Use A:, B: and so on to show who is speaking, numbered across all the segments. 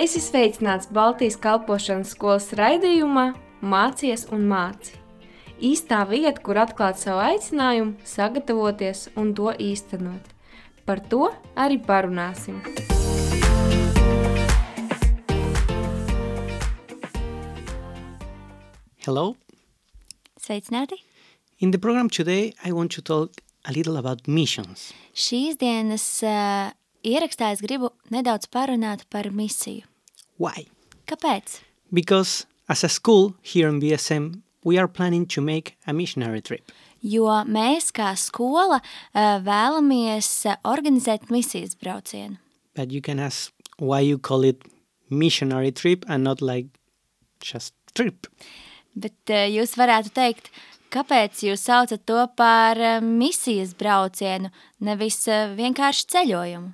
A: Es esmu sveicināts Baltijas kalpošanas skolas raidījumā Mācies un māci. Īstā vieta, kur atklāt savu aicinājumu, sagatavoties un to īstenot. Par to arī parunāsim.
B: Hello.
C: Sveicināti!
B: In the program today, I want to talk a little about missions.
C: Šīs dienas uh, ierakstā es gribu nedaudz parunāt par misiju.
B: Why?
C: Kāpēc?
B: Because as a school here in BSM, we are planning to make a missionary trip.
C: Jo mēs kā skola uh, vēlamies uh, organizēt misijas braucienu.
B: But you can ask why you call it missionary trip and not like just trip.
C: Bet uh, jūs varētu teikt, kāpēc jūs saucat to par uh, misijas braucienu, nevis uh, vienkārši ceļojumu?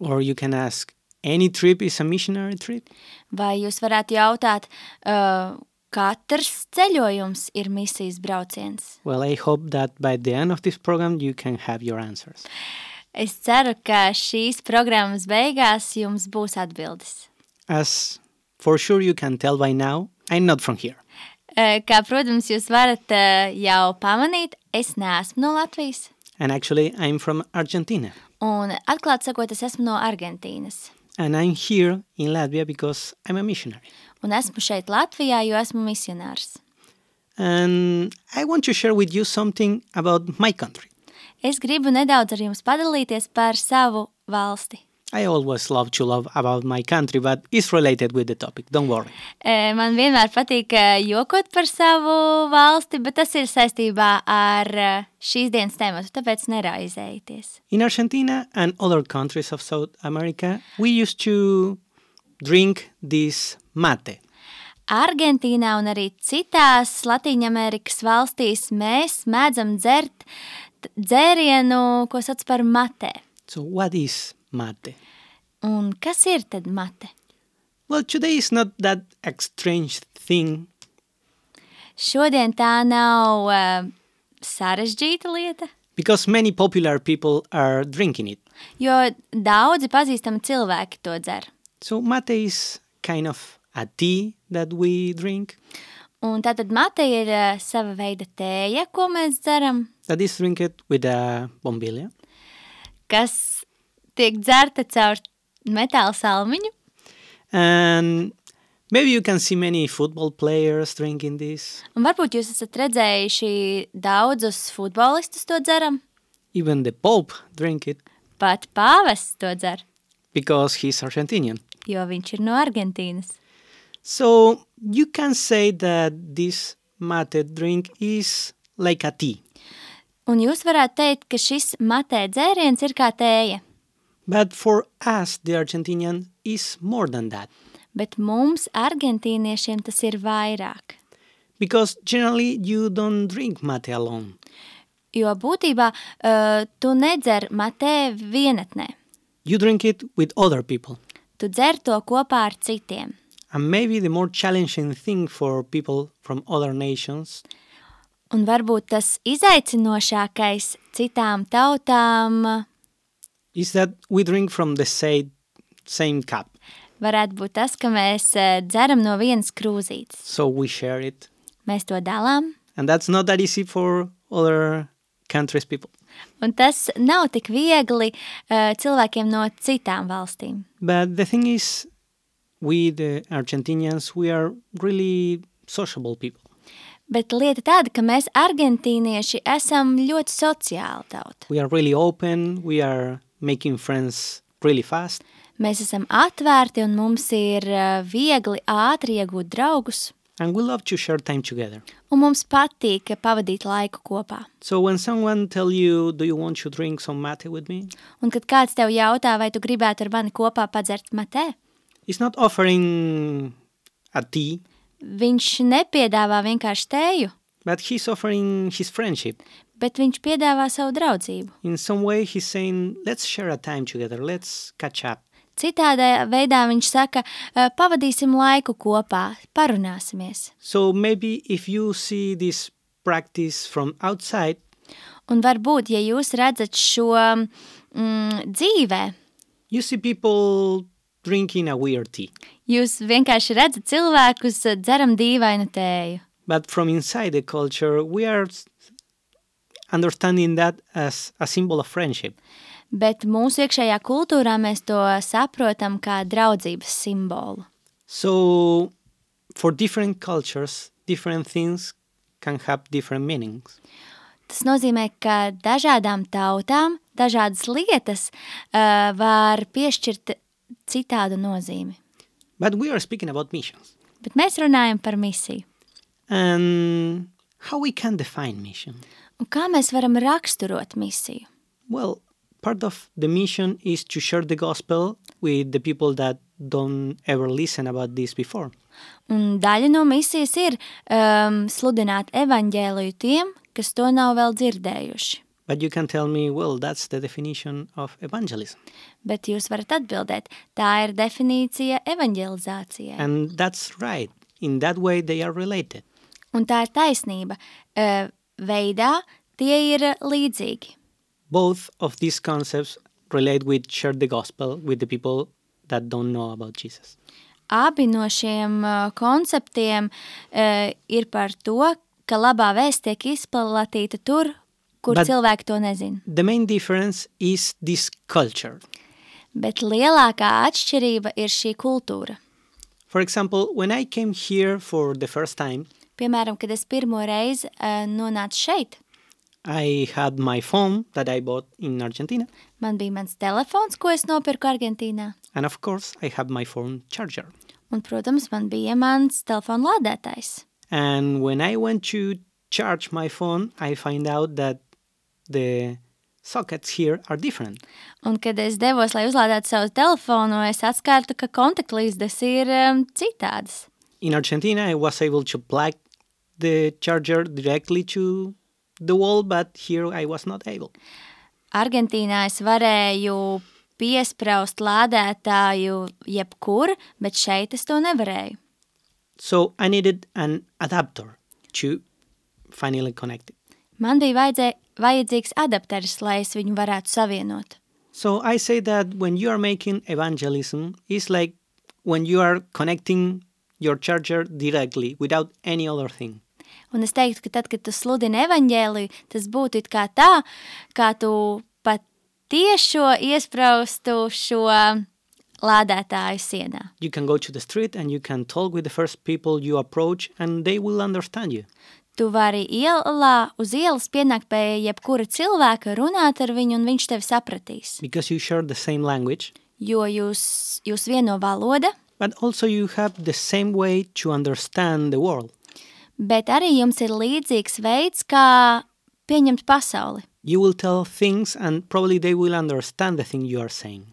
B: Or you can ask any trip is a missionary trip.
C: Vai jūs varētu jautāt, uh, katrs ceļojums ir misijas brauciens?
B: Well, I hope that by the end of this program, you can have your answers.
C: Es ceru, ka šīs programmas beigās jums būs atbildes.
B: As for sure you can tell by now, I'm not from here.
C: E, Kā, protams, jūs varat e, jau pamanīt, es neesmu no Latvijas.
B: And actually, I'm from Argentina.
C: Un, atklāti sakot, es esmu no Argentīnas.
B: And I'm here in Latvia because I'm a missionary.
C: Un esmu šeit Latvijā, jo esmu misionārs.
B: And I want to share with you something about my country.
C: Es gribu nedaudz ar jums padalīties par savu valsti.
B: I always love to love about my country, but it's related with the topic, don't worry.
C: E, Man vienmēr patīk e, jokot par savu valsti, bet tas ir saistībā ar e, šīs dienas tēmu, tāpēc neraizējieties.
B: In Argentina and other countries of South America, we used to drink this mate.
C: Argentīnā un arī citās Latvijas valstīs mēs mēdzam dzert t- dzērienu, ko sauc par matē.
B: So, what is mate?
C: Un kas ir tad mate?
B: Well, today is not that a strange thing.
C: Šodien tā nav uh, sarežģīta lieta,
B: Because many popular people are drinking it.
C: jo daudzi pazīstami cilvēki to dzer.
B: So, mate is kind of a tea that we drink.
C: Un tātad mate ir uh, sava veida tēja, ko mēs dzeram,
B: that is drinked with uh, a bombilla.
C: kas tiek dzerta caur metāla salmiņu.
B: And maybe you can see many football players drinking this,
C: Un varbūt jūs esat redzējuši daudzus futbolistus to dzeram.
B: even the Pope drink it
C: Pat pāvests to dzer,
B: because he's Argentinian.
C: jo viņš ir no Argentīnas.
B: So you can say that this mate drink is like a tea,
C: Un jūs varētu teikt, ka šis matē dzēriens ir kā tēja,
B: but for us, the Argentinian, is more than that
C: bet mums, argentīniešiem, tas ir vairāk.
B: because generally you don't drink mate alone.
C: Jo būtībā uh, tu nedzer matē vienatnē,
B: You drink it with other people.
C: tu dzer to kopā ar citiem.
B: And maybe the more challenging thing for people from other nations
C: Un varbūt tas izaicinošākais citām tautām uh,
B: is that we drink from the same, same cup,
C: varētu būt tas, ka mēs uh, dzeram no vienas krūzītes.
B: so we share it.
C: Mēs to dalām,
B: And that's not that easy for other countries' people.
C: un tas nav tik viegli uh, cilvēkiem no citām valstīm.
B: But the thing is, we, the Argentinians, we are really sociable people.
C: Bet lieta tāda, ka mēs, argentīnieši, esam ļoti sociāli tauta.
B: We are really open, we are making friends really fast.
C: Mēs esam atvērti un mums ir eh, viegli, ātri iegūt draugus,
B: And we love to share time together.
C: un mums patīk pavadīt laiku kopā.
B: So when someone tell you, "Do you want to drink some mate with me?"
C: Un, kad kāds tev jautā, vai tu gribētu ar mani kopā padzert matē,
B: It's not offering a tea,
C: viņš nepiedāvā vienkārši tēju,
B: but he's offering his friendship.
C: bet viņš piedāvā savu draudzību.
B: in some way he's saying let's share a time together let's catch up
C: Citādā veidā viņš saka, "Eh, pavadīsim laiku kopā, parunāsimies.
B: so maybe if you see this practice from outside
C: Un varbūt, ja jūs redzat šo mm, dzīvē,
B: you see people drinking a weird tea.
C: Jūs vienkārši redzat cilvēkus eh, dzeram dīvainu tēju.
B: But from inside the culture, we are s- understanding that as a symbol of friendship.
C: Bet mūsu iekšējā kultūrā mēs to saprotam kā draudzības simbolu.
B: So, for different cultures, different things can have different meanings.
C: Tas nozīmē, ka dažādām tautām dažādas lietas uh, var piešķirt citādu nozīmi.
B: But we are speaking about missions
C: Bet mēs runājam par misiju.
B: and how we can define mission.
C: Un kā mēs varam raksturot misiju?
B: Well, part of the mission is to share the gospel with the people that don't ever listen about this before.
C: Un daļa no misijas ir um, sludināt evaņģēliju tiem, kas to nav vēl dzirdējuši.
B: But you can tell me, well, that's the definition of evangelism.
C: Bet jūs varat atbildēt, tā ir definīcija evaņģelizācijai.
B: And that's right. In that way, they are related.
C: Un tā ir taisnība. E, Veidā tie ir līdzīgi.
B: Both of these concepts relate with share the gospel with the people that don't know about Jesus.
C: Abi no šiem e, konceptiem e, ir par to, ka labā vēsts tiek izplatīta tur, kur
B: Bet-
C: Bet... cilvēki to nezina.
B: The main difference is this culture.
C: Bet lielākā atšķirība ir šī kultūra.
B: For example, when I came here for the first time,
C: Piemēram, kad es pirmo reizi e, nonācu šeit,
B: I had my phone that I bought in Argentina.
C: man bija mans telefons, ko es nopirku Argentīnā.
B: And of course, I had my phone charger.
C: Un, protams, man bija mans telefona lādētājs.
B: And when I went to charge my phone, I find out that the sockets here are different.
C: Un, kad es devos, lai uzlādētu savu telefonu, es atskārtu, ka kontaktlīdes ir um, citādas.
B: In Argentina, I was able to plug the charger directly to the wall, but here I was not able.
C: Argentīnā es varēju piesprāst lādētāju jebkur, bet šeit es to nevarēju.
B: So I needed an adapter to finally connect it.
C: Man bija vajadzē, vajadzīgs adapteris, lai es viņu varētu savienot.
B: So I say that when you are making evangelism, it's like when you are connecting your charger directly without any other thing.
C: Un es teiktu, ka tad, kad tu sludini evaņģēliju, tas būtu it kā tā, kā tu pat tiešo iesprāstu šo lādētāju sienā.
B: You can go to the street and you can talk with the first people you approach and they will understand you.
C: Tu vari ielā, uz ielas pienākt pie jebkura cilvēka, runāt ar viņu, un viņš tevi sapratīs.
B: because you share the same language,
C: Jo jūs, jūs vieno valoda,
B: but also you have the same way to understand the world.
C: bet arī jums ir līdzīgs veids, kā pieņemt pasauli.
B: You will tell things and probably they will understand the thing you are saying.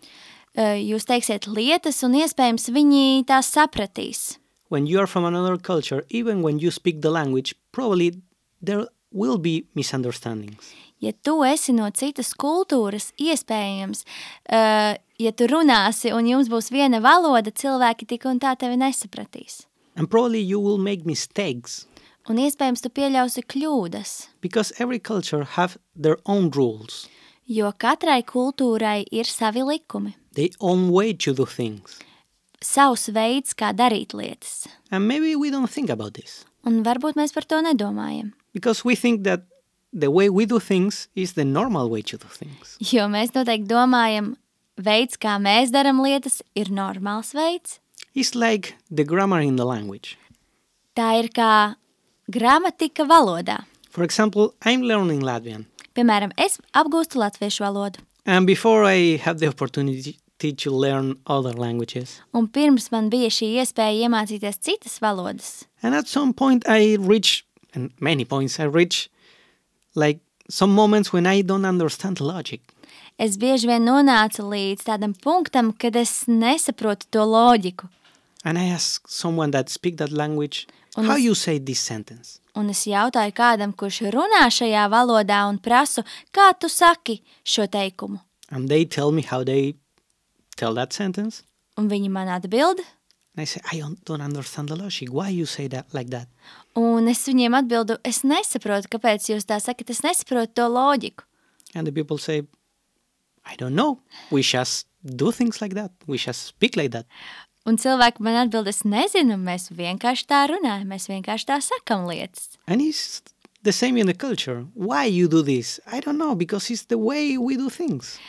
C: E, Jūs teiksiet lietas, un iespējams viņi tās sapratīs.
B: When you are from another culture, even when you speak the language, probably there will be misunderstandings.
C: Ja tu esi no citas kultūras, iespējams, e, ja tu runāsi un jums būs viena valoda, cilvēki tik un tā tevi nesapratīs.
B: And probably you will make mistakes
C: Un iespējams, tu pieļausi kļūdas.
B: because every culture have their own rules,
C: Jo katrai kultūrai ir savi likumi,
B: their own way to do things.
C: savs veids, kā darīt lietas.
B: And maybe we don't think about this
C: Un varbūt mēs par to nedomājam,
B: because we think that the way we do things is the normal way to do things.
C: jo mēs noteikti domājam, veids, kā mēs darām lietas, ir normāls veids.
B: It's like the grammar in the language.
C: Tā ir kā gramatika valodā.
B: For example, I'm learning Latvian,
C: Piemēram, es apgūstu latviešu valodu,
B: and before I had the opportunity to learn other languages,
C: un pirms man bija šī iespēja iemācīties citas valodas.
B: and at some point I reach, and many points I reach, like some moments when I don't understand logic.
C: Es bieži vien nonācu līdz tādam punktam, kad es nesaprotu to loģiku,
B: And I ask someone that speak that language,
C: Und
B: how
C: das-
B: you say this sentence?
C: Un es jautāju kādam, kurš runā šajā valodā, un prasu, kā tu saki šo teikumu.
B: And they tell me how they tell that sentence.
C: Un viņi man atbild,
B: And I say, I don't, don't understand the logic. Why you say that like that?
C: un es viņiem atbildu, es nesaprotu, kāpēc jūs tā sakat, es nesaprotu to loģiku.
B: And the people say, I don't know. We just do things like that. We just speak like that.
C: Un cilvēki man atbild, es nezinu, mēs vienkārši tā runājam, mēs vienkārši tā sakam lietas.
B: And it's the same in the culture. Why you do this? I don't know because it's the way we do things.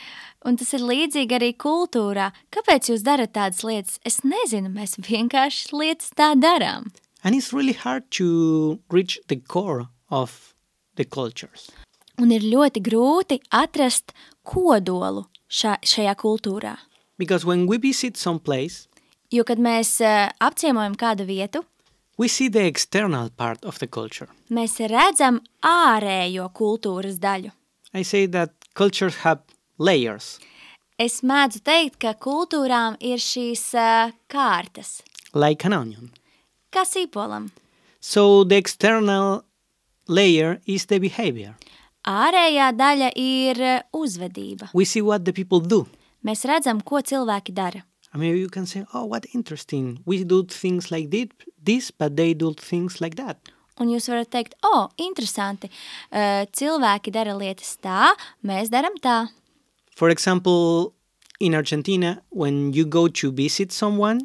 C: Un tas ir līdzīgi arī kultūrā. Kāpēc jūs darat tādas lietas? Es nezinu, mēs vienkārši lietas tā darām.
B: And it's really hard to reach the core of the cultures.
C: Un ir ļoti grūti atrast kodolu šā, šajā kultūrā.
B: Because when we visit some place,
C: Jo, kad mēs uh, apciemojam kādu vietu,
B: we see the external part of the culture.
C: mēs redzam ārējo kultūras daļu.
B: I say that cultures have layers,
C: Es mēdzu teikt, ka kultūrām ir šīs uh, kārtas,
B: like an onion.
C: kā sīpolam.
B: So the external layer is the behavior.
C: Ārējā daļa ir uh, uzvedība.
B: We see what the people do.
C: Mēs redzam, ko cilvēki dara.
B: I mean, you can say, oh, what interesting. We do things like thi- this, but they do things like that.
C: Un jūs varat teikt, o, oh, interesanti, uh, cilvēki dara lietas tā, mēs darām tā.
B: For example, in Argentina, when you go to visit someone,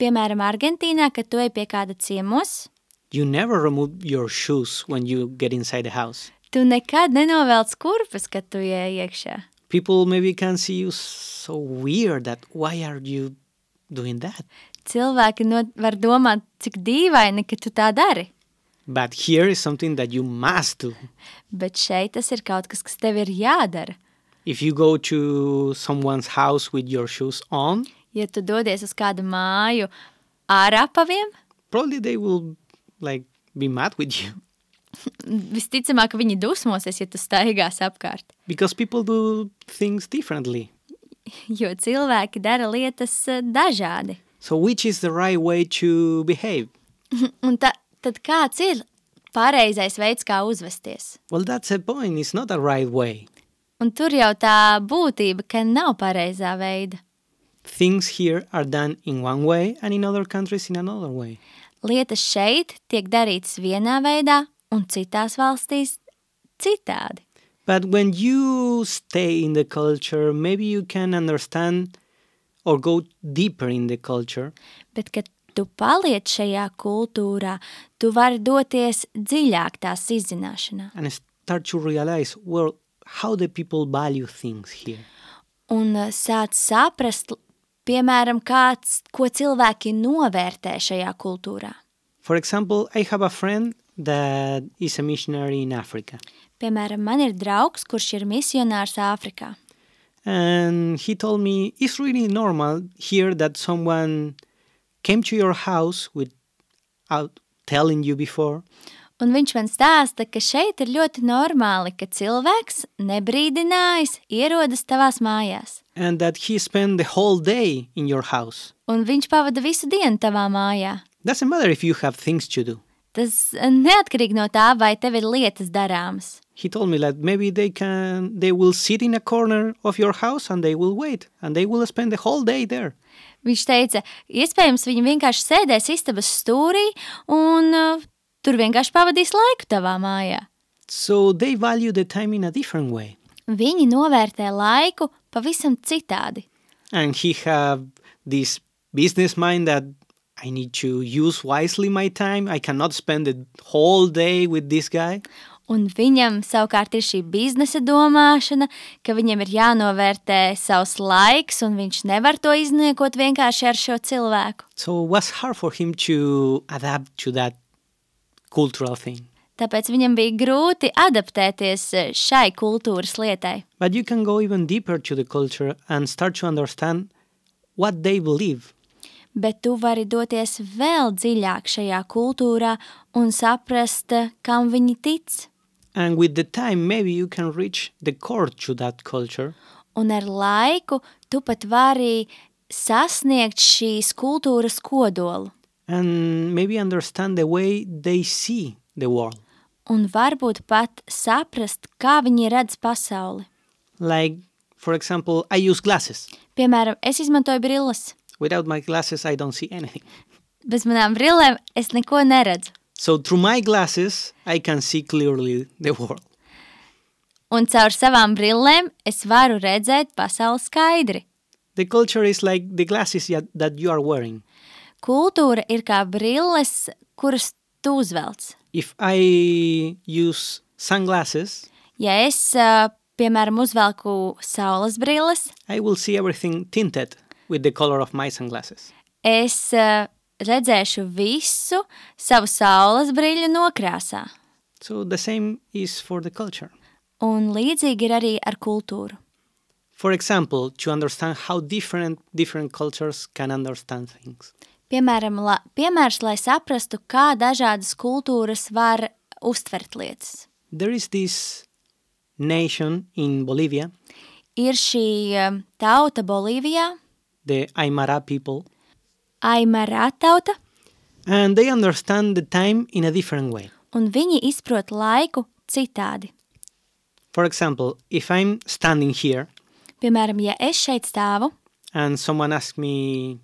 C: Piemēram, Argentīnā, kad tu ej pie kāda ciemos,
B: you never remove your shoes when you get inside the house.
C: tu nekad nenovelc kurpes, kad tu ej iekšā.
B: People maybe can see you so weird that why are you doing that?
C: Cilvēki no, var domāt, cik dīvaini, ka tu tā dari.
B: But here is something that you must do.
C: Bet šeit tas ir kaut kas, kas tev ir jādara.
B: If you go to someone's house with your shoes on,
C: Ja tu dodies uz kādu māju ar apaviem,
B: probably they will like be mad with you
C: visticamāk, viņi dusmosies, ja tu staigās apkārt.
B: because people do things differently.
C: Jo cilvēki dara lietas eh, dažādi.
B: So which is the right way to behave?
C: Un ta, tad kāds ir pareizais veids, kā uzvesties?
B: Well, that's the point. It's not a right way.
C: Un tur jau tā būtība, ka nav pareizā veida.
B: Things here are done in one way and in other countries in another way.
C: Lietas šeit tiek darītas vienā veidā, un citās valstīs citādi.
B: But when you stay in the culture, maybe you can understand or go deeper in the culture
C: Bet, kad tu paliec šajā kultūrā, tu vari doties dziļāk tās izzināšanā.
B: and start to realize well how the people value things here.
C: Un eh, sāc saprast, piemēram, kāds, ko cilvēki novērtē šajā kultūrā.
B: For example, I have a friend that is a missionary in Africa.
C: Piemēram, man ir draugs, kurš ir misionārs Āfrikā.
B: And he told me it's really normal here that someone came to your house without telling you before
C: Un viņš man stāsta, ka šeit ir ļoti normāli, ka cilvēks nebrīdinājis ierodas tavās mājās.
B: and that he spent the whole day in your house.
C: Un viņš pavada visu dienu tavā mājā.
B: Doesn't matter if you have things to do.
C: Tas eh, neatkarīgi no tā, vai tev ir lietas darāmas.
B: He told me that maybe they can they will sit in a corner of your house and they will wait and they will spend the whole day there.
C: Viņš teica, iespējams, viņi vienkārši sēdēs istabas stūrī un uh, tur vienkārši pavadīs laiku tavā mājā.
B: So they value the time in a different way.
C: Viņi novērtē laiku pavisam citādi.
B: and he have this business mind that I need to use wisely my time. I cannot spend the whole day with this guy.
C: Un viņam savukārt ir šī biznesa domāšana, ka viņam ir jānovērtē savs laiks, un viņš nevar to izniekot vienkārši ar šo cilvēku.
B: So it was hard for him to adapt to that cultural thing.
C: Tāpēc viņam bija grūti adaptēties eh, šai kultūras lietai.
B: But you can go even deeper to the culture and start to understand what they believe.
C: bet tu vari doties vēl dziļāk šajā kultūrā un saprast, eh, kam viņi tic.
B: And with the time, maybe you can reach the core to that culture
C: Un ar laiku tu pat vari sasniegt šīs kultūras kodolu
B: and maybe understand the way they see the world.
C: un varbūt pat saprast, kā viņi redz pasauli.
B: Like, for example, I use glasses.
C: Piemēram, es izmantoju brilles.
B: Without my glasses, I don't see anything.
C: Bez manām brillēm es neko neredzu.
B: So through my glasses, I can see clearly the world.
C: Un caur savām brillēm es varu redzēt pasauli skaidri.
B: The culture is like the glasses ya- that you are wearing.
C: Kultūra ir kā brilles, kuras tu uzvelc.
B: If I use sunglasses,
C: Ja es, ā, piemēram, uzvelku saules brilles,
B: I will see everything tinted with the color of my sunglasses.
C: es ā, redzēšu visu savu saules brīļu nokrāsā.
B: So the same is for the culture.
C: Un līdzīgi ir arī ar kultūru.
B: For example, to understand how different different cultures can understand things.
C: Piemēram, la, piemērs, lai saprastu, kā dažādas kultūras var uztvert lietas.
B: There is this nation in Bolivia,
C: Ir šī ā, tauta Bolīvijā,
B: the Aymara people,
C: Aimara tauta,
B: and they understand the time in a different way.
C: un viņi izprot laiku citādi.
B: For example, if I'm standing here
C: Piemēram, ja es šeit stāvu
B: and someone asks me,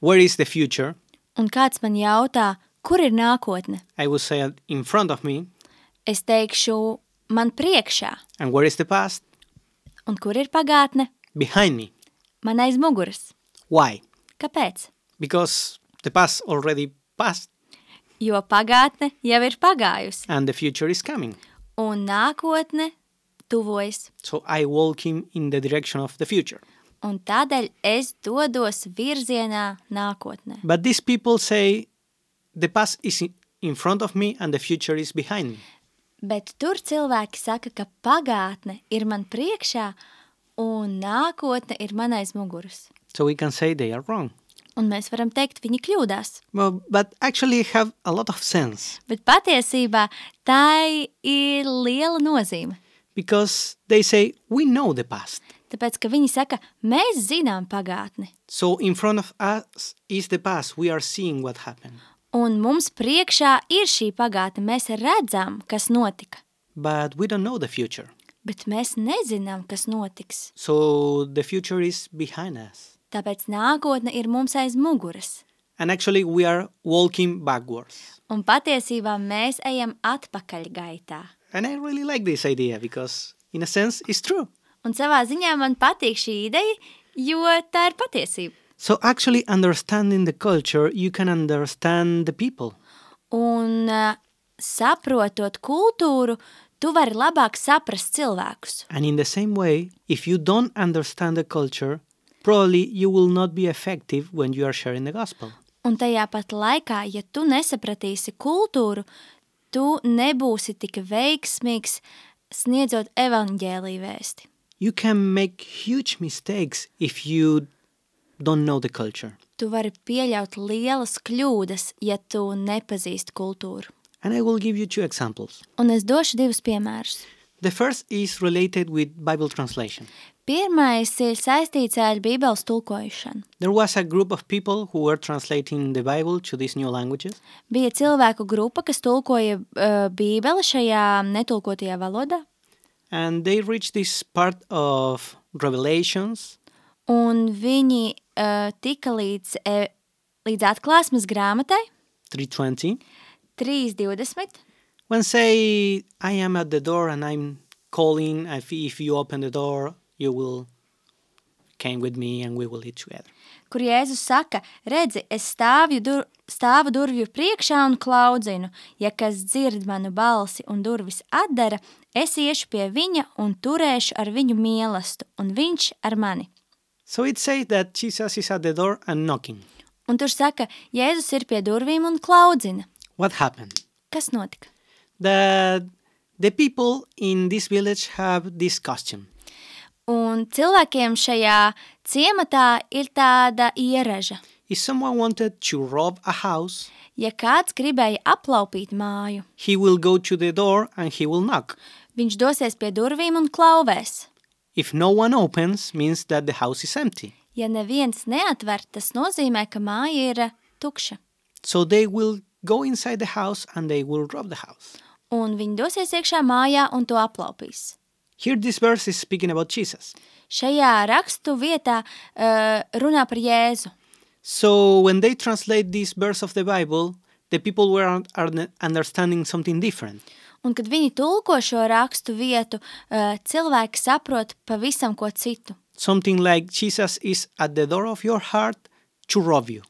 B: Where is the future?
C: un kāds man jautā, kur ir nākotne,
B: I will say it in front of me,
C: es teikšu, man priekšā,
B: and where is the past?
C: un kur ir pagātne,
B: Behind me.
C: man aiz muguras.
B: Why?
C: Kāpēc?
B: Because the past already passed
C: Jo pagātne jau ir pagājusi,
B: and the future is coming.
C: un nākotne tuvojas,
B: So I walk him in the direction of the future.
C: un tādēļ es dodos virzienā nākotnē.
B: But these people say the past is i- in front of me and the future is behind me.
C: Bet tur cilvēki saka, ka pagātne ir man priekšā, un nākotne ir man aiz muguras.
B: So we can say they are wrong.
C: Un mēs varam teikt, viņi kļūdās.
B: Well, but actually have a lot of sense
C: Bet patiesībā tai ir liela nozīme.
B: because they say we know the past.
C: Tāpēc, ka viņi saka, mēs zinām pagātni,
B: So in front of us is the past. We are seeing what happened.
C: un mums priekšā ir šī pagātne. Mēs redzam, kas notika,
B: But we don't know the future.
C: bet mēs nezinām, kas notiks.
B: So the future is behind us.
C: Tāpēc nākotne ir mums aiz muguras,
B: And actually we are walking backwards.
C: un patiesībā mēs ejam atpakaļ gaitā.
B: And I really like this idea because in a sense it's true.
C: Un savā ziņā man patīk šī ideja, jo tā ir patiesība.
B: So actually understanding the culture, you can understand the people.
C: Un ā, saprotot kultūru, tu vari labāk saprast cilvēkus.
B: And in the same way, if you don't understand the culture, probably you will not be effective when you are sharing the gospel.
C: Un tajā pat laikā, ja tu nesapratīsi kultūru, tu nebūsi tik veiksmīgs sniedzot evaņģēlīju vēsti.
B: You can make huge mistakes if you don't know the culture.
C: Tu vari pieļaut lielas kļūdas, ja tu nepazīsti kultūru.
B: And I will give you two examples.
C: Un es došu divus piemērus.
B: The first is related with Bible translation.
C: Pirmais ir saistīts ar Bībeles tulkošanu.
B: There was a group of people who were translating the Bible to these new languages,
C: Bija cilvēku grupa, kas tulkoja uh, Bībeli šajā netulkotajā valodā,
B: and they reached this part of Revelations
C: un viņi uh, tika līdz, e, līdz atklāsmes grāmatai
B: 320
C: 3.20.
B: When say I am at the door and I'm calling, if, if you open the door, you will came with me and we will eat together.
C: kur Jēzus saka, redzi, es stāvju, dur, stāvu durvju priekšā un klaudzinu. Ja kas dzird manu balsi un durvis atdara, es iešu pie viņa un turēšu ar viņu mīlestību, un viņš ar mani.
B: So it says that Jesus is at the door and knocking.
C: Un tur saka, Jēzus ir pie durvīm un klaudzina.
B: What happened?
C: Kas notika?
B: That the people in this village have this costume.
C: Un cilvēkiem šajā ciematā ir tāda ieraža.
B: If someone wanted to rob a house,
C: Ja kāds gribēja aplaupīt māju,
B: he will go to the door and he will knock.
C: viņš dosies pie durvīm un klauvēs.
B: If no one opens, means that the house is empty.
C: Ja neviens neatver, tas nozīmē, ka māja ir eh, tukša.
B: So they will go inside the house and they will rob the house.
C: Un viņi dosies iekšā mājā un to aplaupīs.
B: Here, this verse is speaking about Jesus.
C: Šajā rakstu vietā uh, runā par Jēzu.
B: So, when they translate this verse of the Bible, the people were un- are ne- understanding something different.
C: Un kad viņi tulko šo rakstu vietu, uh, cilvēki saprot eh, pavisam ko citu.
B: something like Jesus is at the door of your heart to rob you.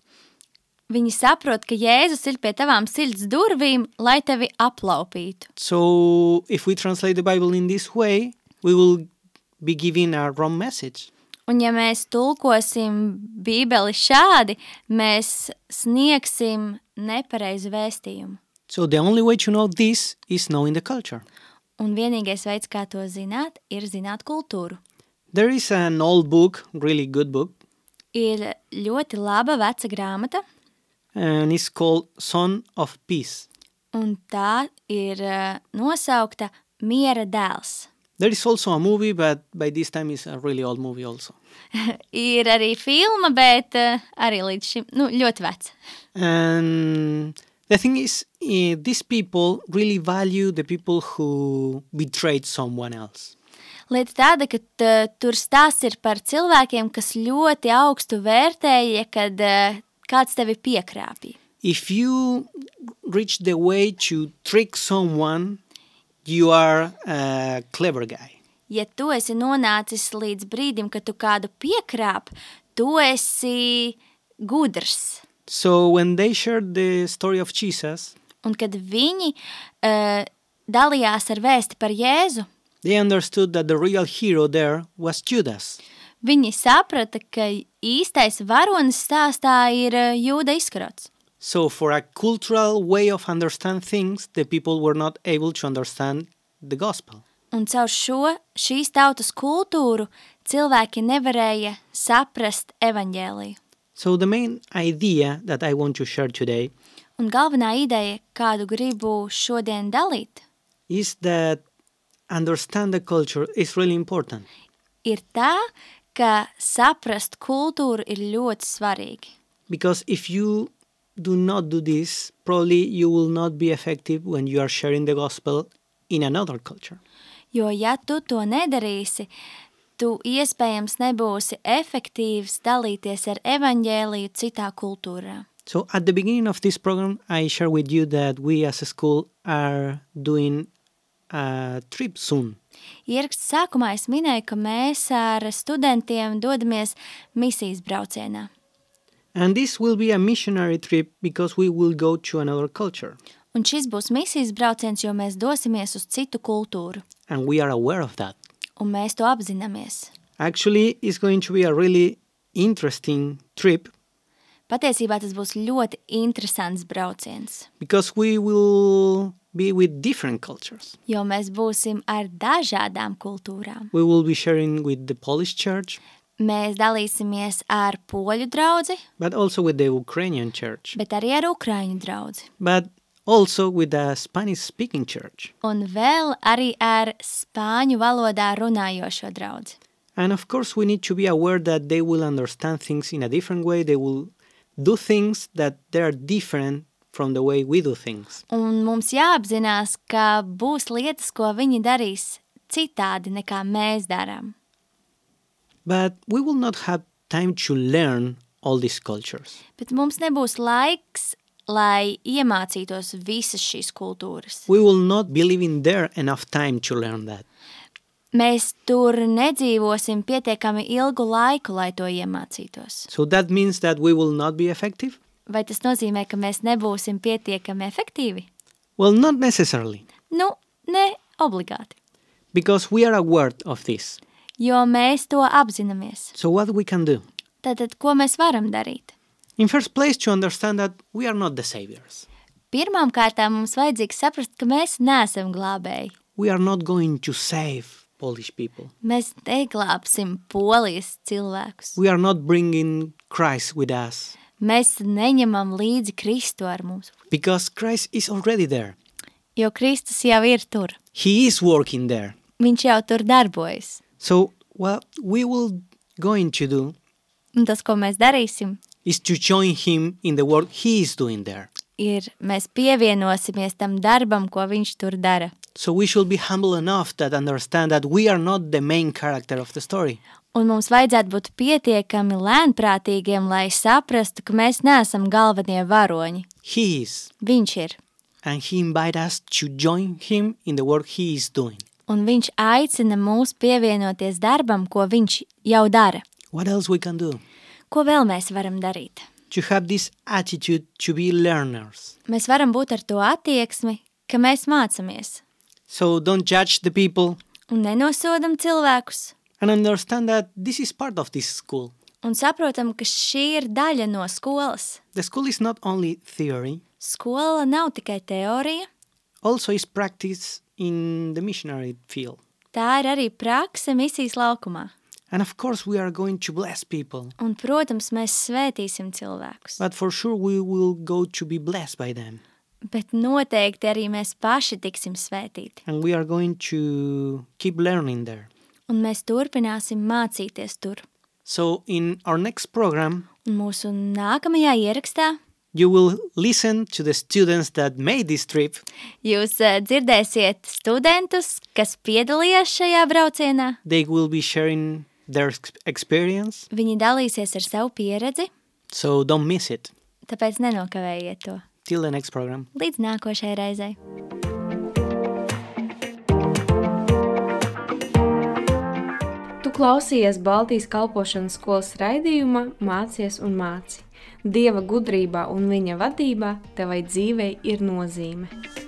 C: Viņi saprot, ka Jēzus ir pie tavām sirds durvīm, lai tevi aplaupītu.
B: So, if we translate the Bible in this way, we will be giving a wrong message.
C: Un ja mēs tulkosim Bībeli šādi, mēs sniegsim nepareizu vēstījumu.
B: So, the only way to know this is knowing the culture.
C: Un vienīgais veids, kā to zināt, ir zināt kultūru.
B: There is an old book, really good book,
C: Ir ļoti laba veca grāmata,
B: and it's called Son of Peace.
C: un tā ir eh, nosaukta Miera dēls.
B: There is also a movie, but by this time it's a really old movie also.
C: ir arī filma, bet eh, arī līdz šim nu, ļoti veca.
B: And the thing is, eh, these people really value the people who betrayed someone else.
C: Lieta tāda, ka eh, tur stāsts ir par cilvēkiem, kas ļoti augstu vērtēja, kad eh, kāds tevi piekrāpīja.
B: If you reach the way to trick someone, you are a clever guy.
C: Ja tu esi nonācis līdz brīdim, kad tu kādu piekrāp, tu esi gudrs.
B: So when they shared the story of Jesus,
C: Un kad viņi uh, dalījās ar vēsti par Jēzu,
B: they understood that the real hero there was Judas.
C: viņi saprata, ka īstais varonis stāstā ir eh, Jūda izkarots.
B: So, for a cultural way of understand things, the people were not able to understand the gospel.
C: Un caur šo šīs tautas kultūru cilvēki nevarēja saprast evaņģēliju.
B: So, the main idea that I want to share today
C: Un galvenā ideja, kādu gribu šodien dalīt,
B: is that understand the culture is really important.
C: ir tā, ka saprast kultūru ir ļoti svarīgi.
B: Because if you do not do this, probably you will not be effective when you are sharing the gospel in another culture.
C: Jo ja tu to nedarīsi, tu iespējams nebūsi efektīvs dalīties ar evaņģēliju citā kultūrā.
B: So, at the beginning of this program, I share with you that we as a school are doing a trip soon.
C: Ieraksts sākumā es minēju, ka mēs ar studentiem dodamies misijas braucienā.
B: And this will be a missionary trip because we will go to another culture.
C: Un šis būs misijas brauciens, jo mēs dosimies uz citu kultūru,
B: And we are aware of that.
C: un mēs to apzināmies.
B: Actually, it's going to be a really interesting trip
C: Patiesībā tas būs ļoti interesants brauciens,
B: because we will be with different cultures.
C: jo mēs būsim ar dažādām kultūrām.
B: We will be sharing with the Polish church,
C: Mēs dalīsimies ar poļu draugu,
B: but also with the Ukrainian church,
C: bet arī ar ukraiņu draugu,
B: but also with the Spanish speaking church.
C: un vēl arī ar spāņu valodā runājošo draugu.
B: And of course, we need to be aware that they will understand things in a different way. They will do things that they are different from the way we do things.
C: Un mums jāapzinās, ka būs lietas, ko viņi darīs citādi nekā mēs darām.
B: But we will not have time to learn all these cultures.
C: Bet mums nebūs laiks, lai iemācītos visas šīs kultūras.
B: We will not be living there enough time to learn that.
C: Mēs tur nedzīvosim pietiekami ilgu laiku, lai to iemācītos.
B: So that means that we will not be effective?
C: Vai tas nozīmē, ka mēs nebūsim pietiekami efektīvi?
B: Well, not necessarily,
C: Nu, ne obligāti,
B: because we are aware of this.
C: jo mēs to apzināmies.
B: So, what we can do?
C: Tātad, ko mēs varam darīt?
B: In first place, to understand that we are not the saviors.
C: Pirmkārt, mums vajadzīgs saprast, ka mēs neesam glābēji.
B: We are not going to save Polish people.
C: Mēs neglābsim polijas cilvēkus.
B: We are not bringing Christ with us,
C: Mēs neņemam līdzi Kristu ar mums,
B: because Christ is already there.
C: jo Kristus jau ir tur.
B: He is working there.
C: Viņš jau tur darbojas.
B: So, what we will going to do
C: Un tas, ko mēs darīsim,
B: is to join him in the work he is doing there.
C: ir mēs pievienosimies tam darbam, ko viņš tur dara.
B: So we should be humble enough that understand that we are not the main character of the story.
C: Un mums vajadzētu būt pietiekami lēnprātīgiem, lai saprastu, ka mēs neesam galvenie varoņi.
B: He is,
C: Viņš ir.
B: and he invite us to join him in the work he is doing.
C: un viņš aicina mūs pievienoties darbam, ko viņš jau dara.
B: What else we can do?
C: Ko vēl mēs varam darīt?
B: To have this attitude to be learners.
C: Mēs varam būt ar to attieksmi, ka mēs mācāmies
B: So don't judge the people
C: un nenosodam cilvēkus,
B: and understand that this is part of this school.
C: un saprotam, ka šī ir daļa no skolas.
B: The school is not only theory,
C: Skola nav tikai teorija,
B: also is practice in the missionary field.
C: tā ir arī prakse misijas laukumā.
B: And of course, we are going to bless people,
C: Un, protams, mēs svētīsim cilvēkus,
B: but for sure we will go to be blessed by them.
C: bet noteikti arī mēs paši tiksim svētīti,
B: And we are going to keep learning there.
C: un mēs turpināsim mācīties tur.
B: So, in our next program,
C: Un mūsu nākamajā ierakstā
B: you will listen to the students that made this trip
C: jūs eh, dzirdēsiet studentus, kas piedalījās šajā braucienā.
B: they will be sharing their ex- experience,
C: Viņi dalīsies ar savu pieredzi,
B: so don't miss it.
C: tāpēc nenokavējiet to.
B: Till the next program.
C: Līdz nākošajai reizei!
A: Tu klausies Baltijas kalpošanas skolas raidījumā, mācies un māci. Dieva gudrībā un viņa vadībā tevai dzīvei ir nozīme.